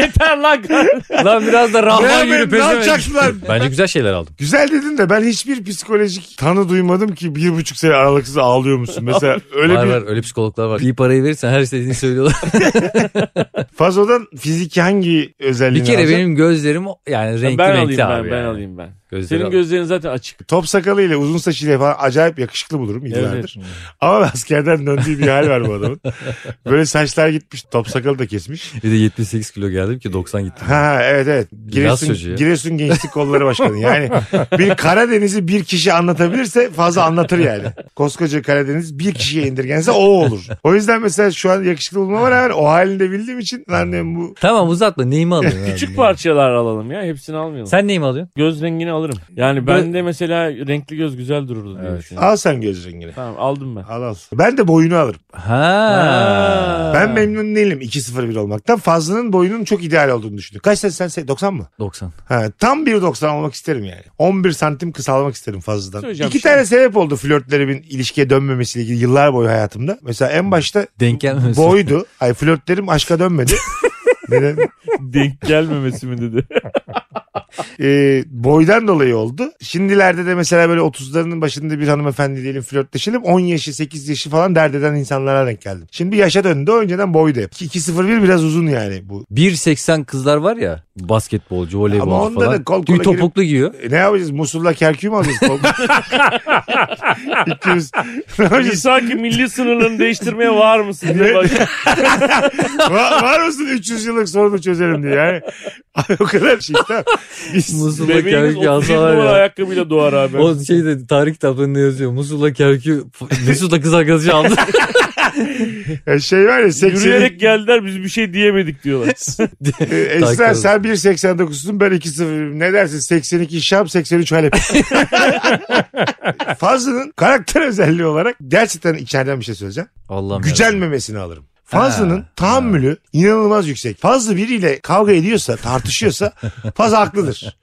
Yeter lan. Lan biraz da Rahman Beğenmedim, yürü ne pezevenk. yapacaksın lan? Bence güzel şeyler aldım. Güzel dedin de ben hiçbir psikolojik tanı duymadım ki bir buçuk sene aralıksız ağlıyor musun? Mesela öyle var bir var öyle psikologlar var. İyi parayı verirsen her istediğini söylüyorlar. fazodan fiziki hangi özelliğini bir kere alacaksın? benim gözlerim yani renkli ben alayım renkli ben, abi. ben yani. alayım ben. Gözleri Senin al- gözlerin zaten açık. Top sakalıyla uzun saçıyla falan acayip yakışıklı bulurum yıllardır. Evet. Ama askerden döndüğü bir hal var bu adamın. Böyle saçlar gitmiş, top sakalı da kesmiş. Bir de 78 kilo geldim ki 90 gitti. Ha evet evet. çocuğu Giresun, ya. Giresun Gençlik Kolları Başkanı. Yani bir Karadeniz'i bir kişi anlatabilirse fazla anlatır yani. Koskoca Karadeniz bir kişiye indirgense o olur. O yüzden mesela şu an yakışıklı bulmama rağmen o halini de bildiğim için annem bu Tamam uzatma neyimi alıyorsun? abi? Küçük parçalar alalım ya. Hepsini almayalım. Sen neyimi alıyorsun? Göz rengini alırım. Yani Ben- ben de mesela renkli göz güzel dururdu diye düşünüyorum. al sen göz rengini. Tamam aldım ben. Al al. Ben de boyunu alırım. Ha. Ben memnun değilim 2-0-1 olmaktan. Fazlının boyunun çok ideal olduğunu düşünüyorum. Kaç sen sen 90 mı? 90. Ha, tam 1.90 olmak isterim yani. 11 santim kısalmak isterim fazladan. Söyleyeceğim İki bir şey. tane sebep oldu flörtlerimin ilişkiye dönmemesiyle ilgili yıllar boyu hayatımda. Mesela en başta Denk gelmemesi. boydu. Ay flörtlerim aşka dönmedi. Neden? Denk gelmemesi mi dedi. Ee, boydan dolayı oldu. Şimdilerde de mesela böyle 30'larının başında bir hanımefendi diyelim flörtleşelim. 10 yaşı 8 yaşı falan dert eden insanlara denk geldim. Şimdi yaşa döndü. Önceden boydu hep. 2.01 biraz uzun yani bu. 1.80 kızlar var ya basketbolcu, Ama voleybolcu onda falan. da kol kola Tüy girip- topuklu giyiyor. E, ne yapacağız? Musul'la Kerkük'ü mü alacağız? İkimiz. Ne yapacağız? Misaki Hani milli sınırlarını değiştirmeye var mısın diye bak. var, var mısın 300 yıllık sorunu çözelim diye. Yani, Abi o kadar şey tamam. Biz, Musul'la Bebeğiniz kerkü 31 yazsa var numara ya. şey ayakkabıyla doğar abi. O şeyde tarih kitaplarında yazıyor. Musul'la kerkü Mesut'la kız arkadaşı aldı. Ya şey var ya 80'lik. Yürüyerek geldiler biz bir şey diyemedik diyorlar. e, Esra Dakika. sen 1.89'sun ben 2.0'ım. Ne dersin 82 Şam 83 Halep. Fazlı'nın karakter özelliği olarak gerçekten içeriden bir şey söyleyeceğim. Allah'ım yarabbim. Gücenmemesini alırım. Fazlı'nın Ha, tahammülü inanılmaz yüksek. Fazlı biriyle kavga ediyorsa, tartışıyorsa Fazlı haklıdır.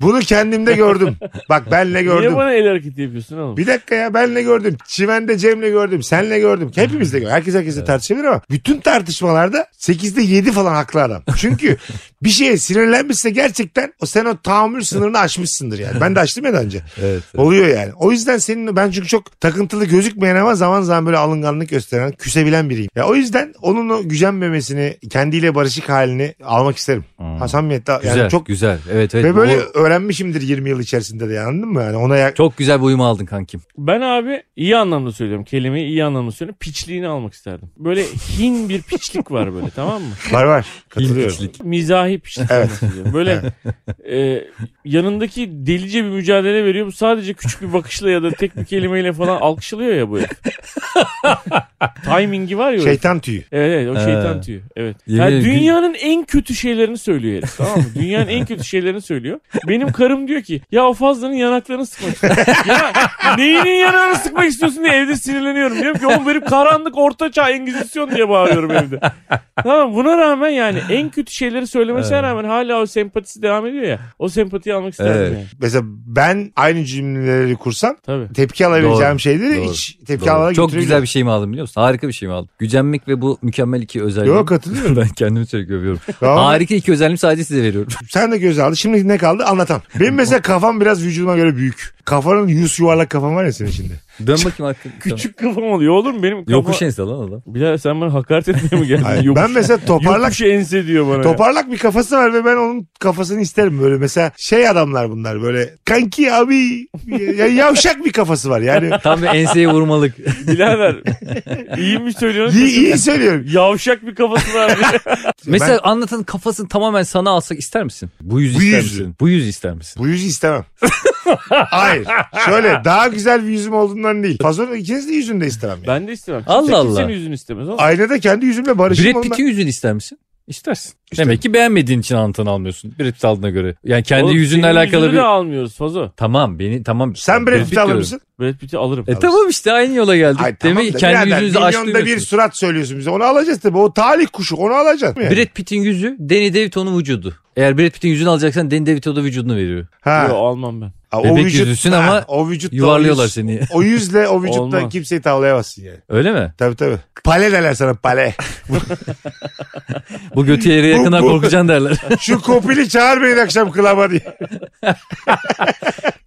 Bunu kendimde gördüm. Bak benle Niye gördüm. bana el hareketi yapıyorsun oğlum? Bir dakika ya benle gördüm. Çimen'de Cem'le gördüm. Senle gördüm. Hepimizle gördüm. Herkes herkesle tartışabilir ama bütün tartışmalarda 8'de 7 falan haklı adam. Çünkü bir şeye sinirlenmişse gerçekten o sen o tahammül sınırını aşmışsındır yani. Ben de aştım ya daha önce. Evet. Oluyor yani. O yüzden senin ben çünkü çok takıntılı gözükmeyen ama zaman zaman böyle alınganlık gösteren, küsebilen biriyim. Ya o yüzden onun o gücenmemesini, kendiyle barışık halini almak isterim. Hmm. Ha samimiyetle Güzel, yani çok güzel. Evet, evet. ve Bu- böyle öğrenmişimdir 20 yıl içerisinde de yani, anladın mı? Yani ona ya- çok güzel bir uyum aldın kankim. Ben abi iyi anlamda söylüyorum. Kelimeyi iyi anlamda söylüyorum. Piçliğini almak isterdim. Böyle hin bir piçlik var böyle tamam mı? var var. Katılıyorum. İlginçlik. Mizahi piçlik Evet. olması diyorum. Böyle e, yanındaki delice bir mücadele veriyor. Bu sadece küçük bir bakışla ya da tek bir kelimeyle falan alkışlıyor ya bu herif. Timingi var ya. o herifin. Şeytan tüyü. Evet, evet o şeytan Ee, tüyü. Evet. yemin Yani ederim, gün- dünyanın en kötü şeylerini söylüyor herif tamam mı? Dünyanın en kötü şeylerini söylüyor. Benim karım diyor ki ya o fazlanın yanaklarını sıkmak istiyorsun. ya neyinin yanağını sıkmak istiyorsun diye evde sinirleniyorum. Diyorum ki oğlum benim karanlık ortaçağ engizisyon diye bağırıyorum evde. tamam mı? buna rağmen yani en kötü şeyleri söylemesine Evet. rağmen hala o sempatisi devam ediyor ya. O sempatiyi almak isterdim Evet. yani. Mesela ben aynı cümleleri kursam Tabii. tepki alabileceğim Doğru, şeyleri doğru, hiç tepki Doğru. almadan Çok güzel götürebilirim. bir şey mi aldım biliyor musun? Harika bir şey mi aldım? Gücenmek ve bu mükemmel iki özellik. Yok katılıyorum. ben kendimi sürekli övüyorum. Tamam. Harika iki özelliğimi sadece size veriyorum. Sen de göz aldı. Şimdi ne kaldı? Anlatan. Benim mesela kafam biraz vücuduma göre büyük. Kafanın yüz yuvarlak kafan var ya senin şimdi. Dön bakayım arkadaşlar. Küçük kafam oluyor oğlum benim kafam. Yokuş ense lan adam. Bilal sen bana hakaret etmeye mi geldin? Hayır, Yokuş- ben mesela toparlak Yokuş ense diyor bana. ya. toparlak bir kafası var ve ben onun kafasını isterim böyle. Mesela şey adamlar bunlar böyle kanki abi ya- yavşak bir kafası var yani. Tam bir enseye vurmalık. Birader iyi mi söylüyorsun? iyi, iyi söylüyorum. Yavşak bir kafası var. Mesela anlatan kafasını tamamen sana alsak ister misin? Bu yüz Bu ister yüzü. misin? Bu yüz ister misin? Bu yüzü istemem. Hayır. Şöyle daha güzel bir yüzüm olduğundan değil. Fazla ikiniz de yüzünü de istemem. yani. ben de istemem. Kimse, Allah Allah. Kimsenin yüzünü istemez. oğlum. Aynada kendi yüzümle barışım Brad olma. Pitt'in yüzünü ister misin? İstersin. İsterim. Demek ki beğenmediğin için anlatan almıyorsun. Brad Pitt aldığına göre. Yani kendi Oğlum, yüzünle senin alakalı yüzünü bir... de almıyoruz Fazo. Tamam beni tamam. Sen Brad Brad Pitt Pitt'i alır diyorum. mısın? Brad Pitt'i alırım. E tamam işte aynı yola geldik. Ay, tamam Demek da ki kendi birader, yüzünüzü Milyonda bir açtırmıyorsunuz. surat söylüyorsun bize. Onu alacağız tabii. O talih kuşu. Onu alacaksın. Yani. Brad Pitt'in yüzü Danny DeVito'nun vücudu. Eğer Brad Pitt'in yüzünü alacaksan Danny DeVito da vücudunu veriyor. Ha. Yo, almam ben. Ha, o Bebek vücut, yüzüsün ha, ama o vücutla, Yuvarlıyorlar o yüz- seni. O yüzle o vücutla Olmaz. kimseyi tavlayamazsın yani. Öyle mi? Tabii tabii. Pale derler sana pale. Bu götü yere yakından bu- korkacaksın derler. Şu kopili çağır beni akşam kılama diye.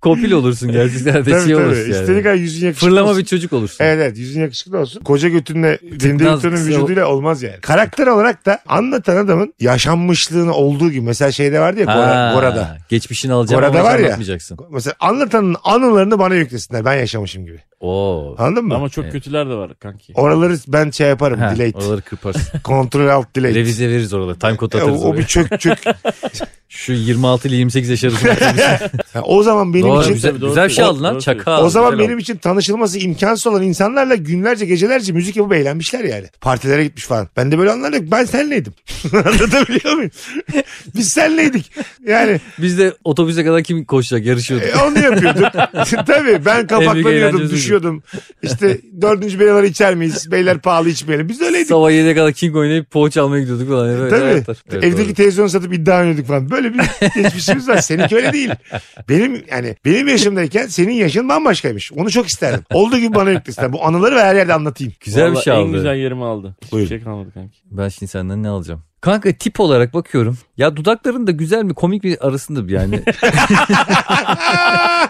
Kopil olursun gerçekten de tabii şey tabii. olursun yani. İstediğin kadar yüzün yakışıklı Fırlama olsun. bir çocuk olursun. Evet evet yüzün yakışıklı olsun. Koca götünle Dendilikton'un kısa- vücuduyla olmaz yani. Karakter olarak da anlatan adamın yaşanmışlığını olduğu gibi. Mesela şeyde vardı ya Gora- Ha, Gora'da. Geçmişini alacağım Gora'da ama var ya. anlatmayacaksın. Mesela anlatanın anılarını bana yüklesinler. Ben yaşamışım gibi. Oo. Anladın mı? Ama çok Evet. kötüler de var kanki. Oraları ben şey yaparım. Ha, delete. oraları kırparsın. Kontrol alt delete. Revize veririz oraları. Time code E, atarız o, o oraya. bir çök çök. Şu 26 ile 28 yaş arasında. Ha, o zaman benim Doğru için güzel, Tabii, doğru güzel bir şey söylüyorsun. aldın lan. Doğru Çakal. o zaman Helal benim için tanışılması imkansız olan insanlarla günlerce gecelerce müzik yapıp eğlenmişler yani. Partilere gitmiş falan. Ben de böyle anlarla ben senleydim. Anlatabiliyor muyum? Biz senleydik. Yani Biz de otobüse kadar kim koşacak yarışıyorduk. e, onu yapıyorduk. Tabii ben kapaklanıyordum eğlencemiz düşüyordum. İşte dördüncü beyler içer miyiz? Beyler pahalı içmeyelim. Biz de öyleydik. Sabah 7'ye kadar king oynayıp poğaça almaya gidiyorduk falan. Evet, Tabii. hayatlar. Evet, Evdeki doğru. televizyonu satıp iddia oynuyorduk falan. Böyle bir geçmişimiz var. Seninki öyle değil. Benim yani benim yaşımdayken senin yaşın bambaşkaymış. Onu çok isterdim. Olduğu gibi bana yüklesinler. Bu anıları ve her yerde anlatayım. Güzel bir Vallahi şey En aldın. güzel yerimi aldı. Hiçbir Buyurun. şey kalmadı kanki. Ben şimdi senden ne alacağım? Kanka tip olarak bakıyorum. Ya dudakların da güzel mi komik mi arasında bir yani.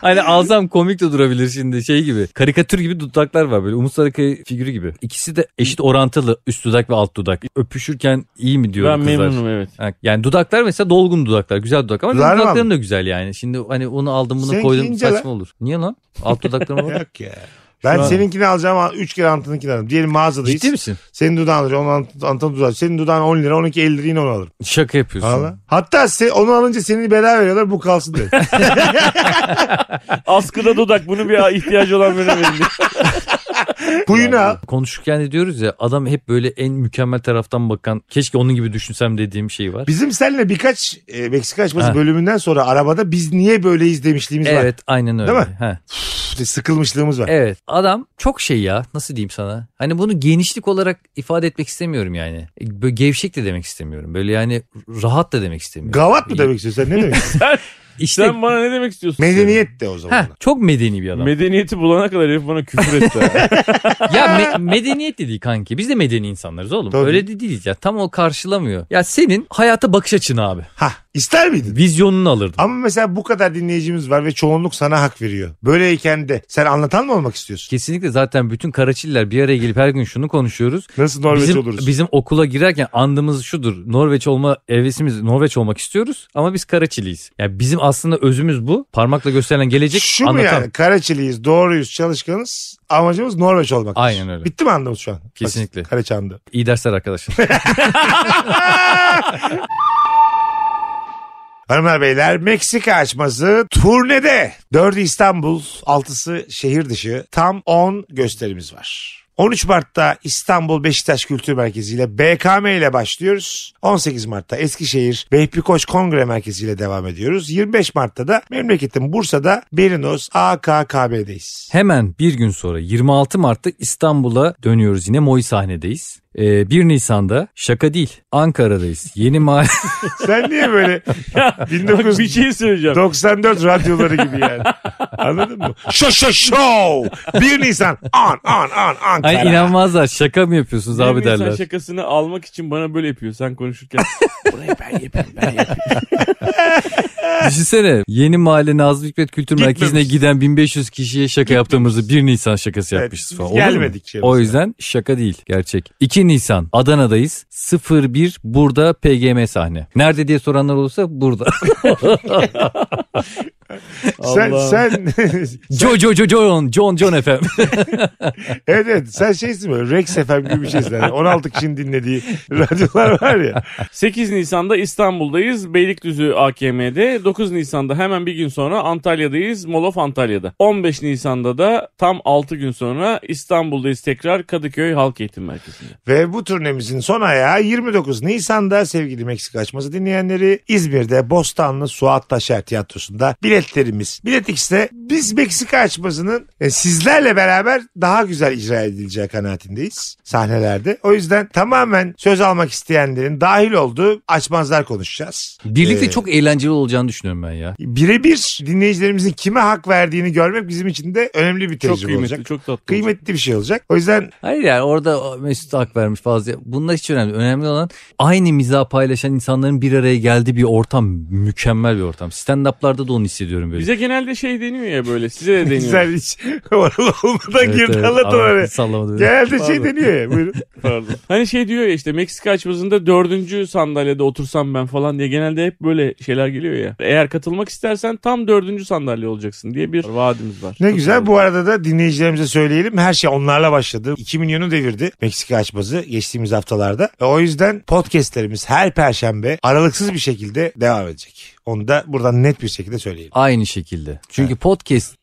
hani alsam komik de durabilir şimdi şey gibi. Karikatür gibi dudaklar var böyle. Umut Sarıkaya figürü gibi. İkisi de eşit orantılı üst dudak ve alt dudak. Öpüşürken iyi mi ben diyorum kızlar. memnunum evet. Ha, Yani dudaklar mesela dolgun dudaklar. Güzel dudak ama Dudağı var dudakların mı? da güzel yani. Şimdi hani onu aldım bunu Seninki koydum ince saçma olur. Niye lan? Alt dudaklarım var. Yok ya. Ben Şu an- seninkini alacağım. Üç kere Antan'ınkini alırım. Diyelim mağazadayız. Ciddi misin? Senin dudağın alacağım. Onu Ant- Antan'ın dudağı. Senin dudağın 10 lira. Onunki 50 lira yine onu alırım. Şaka yapıyorsun. Valla. Hatta se- onu alınca seni bedava veriyorlar. Bu kalsın diye. Askıda dudak bunu bir ihtiyacı olan birine verildi. Kuyunu al. Konuşurken de diyoruz ya adam hep böyle en mükemmel taraftan bakan keşke onun gibi düşünsem dediğim şey var. Bizim seninle birkaç e, Meksika açması Ha. bölümünden sonra arabada biz niye böyleyiz demişliğimiz var. Evet aynen öyle. Değil He. İşte sıkılmışlığımız var. Evet adam çok şey ya nasıl diyeyim sana. Hani bunu genişlik olarak ifade etmek istemiyorum yani. E, Böyle gevşek de demek istemiyorum. Böyle yani rahat da demek istemiyorum. Gavat mı demek istiyorsun sen ne demek istiyorsun? İşte Sen bana ne demek istiyorsun? Medeniyet de o zaman. Heh, çok medeni bir adam. Medeniyeti bulana kadar herif bana küfür etti. ha. ya me- medeniyet dedi kanki. Biz de medeni insanlarız oğlum. Tabii. Öyle de değiliz ya. Tam o karşılamıyor. Ya senin hayata bakış açın abi. Ha ister miydin? Vizyonunu alırdım. Ama mesela bu kadar dinleyicimiz var ve çoğunluk sana hak veriyor. Böyleyken de sen anlatan mı olmak istiyorsun? Kesinlikle zaten bütün Karaçiller bir araya gelip her gün şunu konuşuyoruz. Nasıl Norveç bizim, oluruz? bizim okula girerken andımız şudur. Norveç olma evresimiz Norveç olmak istiyoruz ama biz Karaçiliyiz. Yani bizim aslında özümüz bu. Parmakla gösterilen gelecek Şu mu anlatan. yani? Karaçiliyiz, doğruyuz, çalışkanız. Amacımız Norveç olmak. Aynen öyle. Bitti mi anlamız şu an? Kesinlikle. Bak, Karaçandı. İyi dersler arkadaşlar. Hanımlar beyler Meksika açması turnede. 4'ü İstanbul, 6'sı şehir dışı. Tam 10 gösterimiz var. 13 Mart'ta İstanbul Beşiktaş Kültür Merkezi ile BKM ile başlıyoruz. 18 Mart'ta Eskişehir Vehbi Koç Kongre Merkezi ile devam ediyoruz. 25 Mart'ta da memleketin Bursa'da Berinos AKKB'deyiz. Hemen bir gün sonra 26 Mart'ta İstanbul'a dönüyoruz yine Moy sahnedeyiz. Ee, 1 Nisan'da şaka değil Ankara'dayız. Yeni mahalle Sen niye böyle Bak bir 1900 şey söyleyeceğim. 94 radyoları gibi yani. Anladın mı? Şo şo şo. 1 Nisan. An an an Ankara. Ay inanmazlar şaka mı yapıyorsunuz abi Benim insan derler. şakasını almak için bana böyle yapıyor sen konuşurken. Burayı ben yapayım ben yapayım. Düşünsene yeni mahalle Nazım Hikmet Kültür Gitmemiş. Merkezi'ne giden 1500 kişiye şaka yaptığımızı 1 Nisan şakası Evet, yapmışız falan. biz Olur mu? gelmedik şey O mesela. yüzden şaka değil gerçek. 2 Nisan Adana'dayız 01 burada PGM sahne. Nerede diye soranlar olursa burada. Sen, Allah'ım. sen, Joe Joe Joe John John John efendim. Ee. evet evet sen şeysin böyle Rex FM gibi bir şeysin. Yani 16 kişinin dinlediği radyolar var ya. 8 Nisan'da İstanbul'dayız. Beylikdüzü AKM'de. 9 Nisan'da hemen bir gün sonra Antalya'dayız. Molof Antalya'da. 15 Nisan'da da tam 6 gün sonra İstanbul'dayız tekrar Kadıköy Halk Eğitim Merkezi'nde. Ve bu turnemizin son ayağı 29 Nisan'da sevgili Meksika açması dinleyenleri İzmir'de Bostanlı Suat Taşer Tiyatrosu'nda biletlerimiz. Bilet X'te biz Meksika açmasının e, sizlerle beraber daha güzel icra edileceği kanaatindeyiz sahnelerde. O yüzden tamamen söz almak isteyenlerin dahil olduğu açmazlar konuşacağız. Birlikte Ee, çok eğlenceli olacağını düşünüyorum ben ya. birebir dinleyicilerimizin kime hak verdiğini görmek bizim için de önemli bir Çok tecrübe kıymetli, olacak. çok tatlı. olacak. Kıymetli bir şey olacak. O yüzden Hayır yani orada Mesut hak vermiş fazla. Bunlar hiç önemli. değil. Önemli olan aynı mizahı paylaşan insanların bir araya geldiği bir ortam. Mükemmel bir ortam. Stand-up'larda da onu hissediyorum böyle. Bize genelde şey deniyor ya böyle size de deniyor. sen hiç oralı olmadan Evet, girdin evet. anlat Ama oraya. Sallamadı. Genelde şey Pardon. deniyor ya. Buyurun. Pardon. Hani şey diyor ya işte Meksika açmasında dördüncü sandalyede otursam ben falan diye genelde hep böyle şeyler geliyor ya. Eğer katılmak istersen tam dördüncü sandalye olacaksın diye bir vaadimiz var. Ne güzel. Bu arada da dinleyicilerimize söyleyelim. Her şey onlarla başladı. 2 milyonu devirdi Meksika açması geçtiğimiz haftalarda. E, o yüzden podcastlerimiz her perşembe aralıksız bir şekilde devam edecek. Onu da buradan net bir şekilde söyleyelim. Aynı şekilde. Çünkü podcast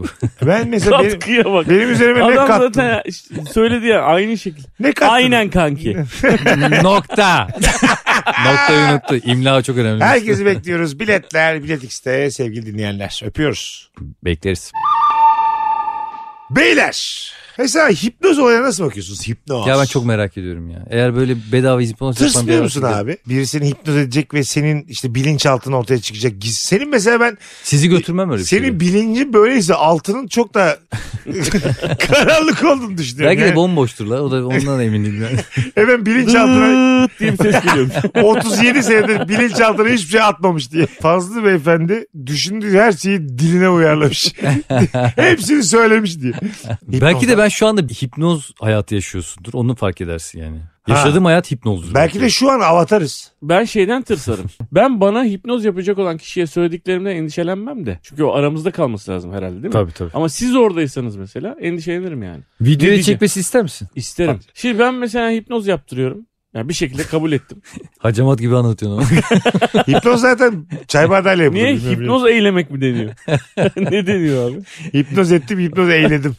bu. Ben mesela benim, Katkıya bak. benim üzerime ne Adam kattın? zaten söyledi ya aynı şekilde. Ne kattın? Aynen kanki. Nokta. Noktayı unuttu. İmla çok önemli. Herkesi bekliyoruz. Biletler, Bilet X'te sevgili dinleyenler. Öpüyoruz. Bekleriz. Beyler. Mesela hipnoz olayına nasıl bakıyorsunuz? Hipnoz. Ya ben çok merak ediyorum ya. Eğer böyle bedava hipnoz yapan bir Tırsmıyor adam- musun abi? Biri seni hipnoz edecek ve senin işte bilinçaltın ortaya çıkacak. Giz- Senin mesela ben Sizi götürmem öyle bir senin şey. bilincin böyleyse altının çok da karanlık olduğunu düşünüyorum. Belki de Yani, bomboştur la. O da ondan eminim. Yani. Hemen bilinçaltına Dıt diye bir ses geliyormuş. 37 senedir bilinçaltına hiçbir şey atmamış diye. Fazlı beyefendi düşündüğü her şeyi diline uyarlamış. Hepsini söylemiş diye. Belki de ben şu anda bir hipnoz hayatı yaşıyorsundur. Onu fark edersin yani. Ha. Yaşadığım hayat hipnozdur. Belki de şu an avatarız. Ben şeyden tırsarım. Ben bana hipnoz yapacak olan kişiye söylediklerimden endişelenmem de. Çünkü o aramızda kalması lazım herhalde değil mi? Tabii tabii. Ama siz oradaysanız mesela endişelenirim yani. Ne Videoya diyeceğim? çekmesi ister misin? İsterim. Şimdi ben mesela hipnoz yaptırıyorum. Yani bir şekilde kabul ettim. Hacamat gibi anlatıyorsun ama. Hipnoz zaten çay bardağıyla yapılır. Niye bilmiyorum. hipnoz eylemek mi deniyor? ne deniyor abi? Hipnoz ettim hipnoz eğledim.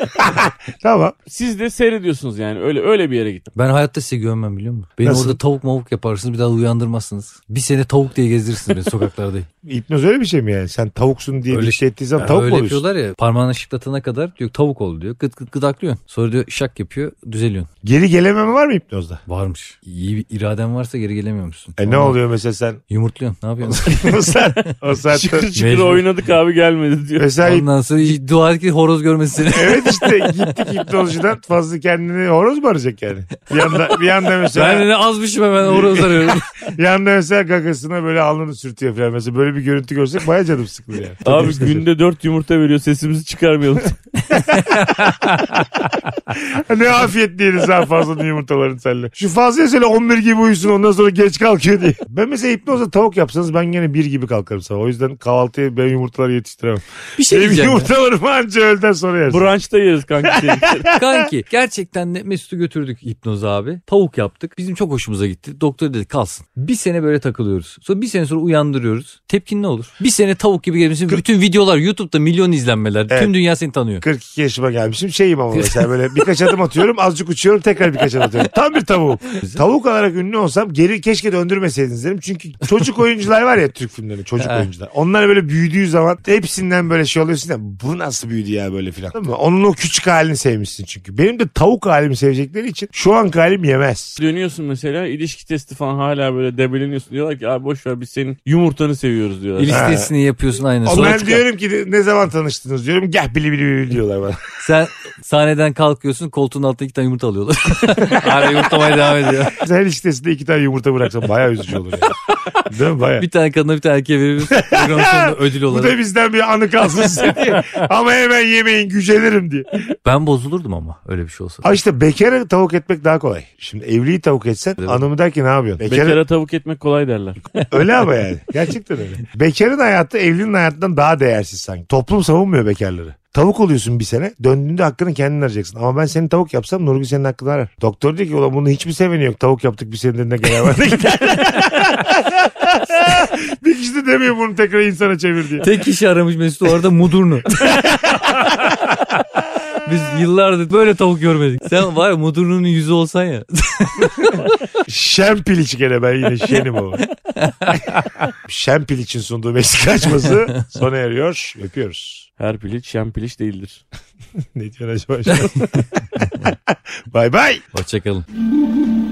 tamam. Siz de seyrediyorsunuz yani öyle öyle bir yere gittim. ben hayatta size güvenmem biliyor musun? Beni Nasıl? orada tavuk mavuk yaparsınız bir daha uyandırmazsınız. Bir sene tavuk diye gezdirirsiniz beni sokaklarda. Hipnoz öyle bir şey mi yani? Sen tavuksun diye Öyle- bir şey ettiği zaman Ya tavuk mu öyle oluyorsun? yapıyorlar ya parmağını şıklatana kadar diyor tavuk ol diyor. Gıt gıt gıdaklıyorsun. Sonra diyor şak yapıyor düzeliyorsun. Geri gelememe var mı hipnozda? Varmış. İyi bir iraden varsa geri gelemiyormuşsun. E ne oluyor mesela sen? Yumurtluyorsun ne yapıyorsun? o sen o saatte... Şıkır şıkır Mecbur. oynadık abi gelmedi diyor. Mesela Ondan sonra iyi- dua et ki horoz görmesin seni. evet işte gittik hipnozcudan fazla kendini horoz mu arayacak yani? Bir yanda, bir yanda mesela, ben de azmışım hemen horoz arıyorum. bir yanda mesela gagasına böyle alnını sürtüyor falan. Mesela böyle bir görüntü görsek baya canım sıkılır yani. Abi günde dört yumurta veriyor sesimizi çıkarmayalım. ne afiyet diyelim sen fazla yumurtaların seninle. Şu fazla söyle 11 gibi uyusun ondan sonra geç kalkıyor diye. Ben mesela hipnozda tavuk yapsanız ben gene 1 gibi kalkarım sabah. O yüzden kahvaltıya ben yumurtaları yetiştiremem. bir şey Benim diyeceğim. ya. yumurtalarımı anca öğleden sonra yersin. Brunch'ta yeriz kanka. seni. Kanki gerçekten de Mesut'u götürdük hipnoz abi. Tavuk yaptık. Bizim çok hoşumuza gitti. Doktor dedi kalsın. Bir sene böyle takılıyoruz. Sonra bir sene sonra uyandırıyoruz. Tepkin ne olur? Bir sene tavuk gibi gelmişsin. Bütün videolar YouTube'da milyon izlenmeler. Evet. Tüm dünya seni tanıyor. 42 yaşıma gelmişim şeyim ama mesela böyle birkaç adım atıyorum azıcık uçuyorum tekrar birkaç adım atıyorum. Tam bir tavuğum. Tavuk olarak ünlü olsam geri keşke döndürmeseydiniz derim. Çünkü çocuk oyuncular var ya Türk filmlerinde çocuk Evet. oyuncular. Onlar böyle büyüdüğü zaman hepsinden böyle şey oluyorsun ya bu nasıl büyüdü ya böyle filan. Değil mi? Onun o küçük halini sevmişsin çünkü. Benim de tavuk halimi sevecekleri için şu anki halim yemez. Dönüyorsun mesela ilişki testi falan hala böyle debeleniyorsun. Diyorlar ki abi boş ver biz senin yumurtanı seviyoruz diyorlar. İlistesini E, yapıyorsun aynen. Sonra ben çıkar- diyorum ki ne zaman tanıştınız diyorum gel bili bili bili diyorlar bana. Sen sahneden kalkıyorsun koltuğun altına iki tane yumurta alıyorlar. Hala yumurtlamaya devam ediyor. Mesela Her iştesinde iki tane yumurta bıraksam baya üzücü olur yani. Değil mi baya? Bir tane kadına bir tane erkeğe veriyoruz. Programın sonunda ödül Bu olarak. da bizden bir anı kalsın size diye. Ama hemen yemeyin gücenirim diye. Ben bozulurdum ama öyle bir şey olsa. Ha işte bekara tavuk etmek daha kolay. Şimdi evliyi tavuk etsen Evet. hanımı der ki ne yapıyorsun? Bekara, Bekara tavuk etmek kolay derler. öyle ama yani. Gerçekten öyle. Bekarın hayatı evlinin hayatından daha değersiz sanki. Toplum savunmuyor bekarları. Tavuk oluyorsun bir sene. Döndüğünde hakkını kendin arayacaksın. Ama ben seni tavuk yapsam Nurgül senin hakkını arar. Doktor diyor ki ulan bunu hiçbir seveni yok. Tavuk yaptık bir senedir ne kadar var. bir kişi de demiyor bunu tekrar insana çevir diye. Tek kişi aramış Mesut o arada Mudurnu. Biz yıllardır böyle tavuk görmedik. Sen var ya Mudurnu'nun yüzü olsan ya. Şen piliç gene ben yine şenim o. Şen piliçin sunduğu Meksika açması sona eriyor. Öpüyoruz. Her piliç şen piliç değildir. Ne diyorsun acaba? şu an? Bay bay. Hoşçakalın.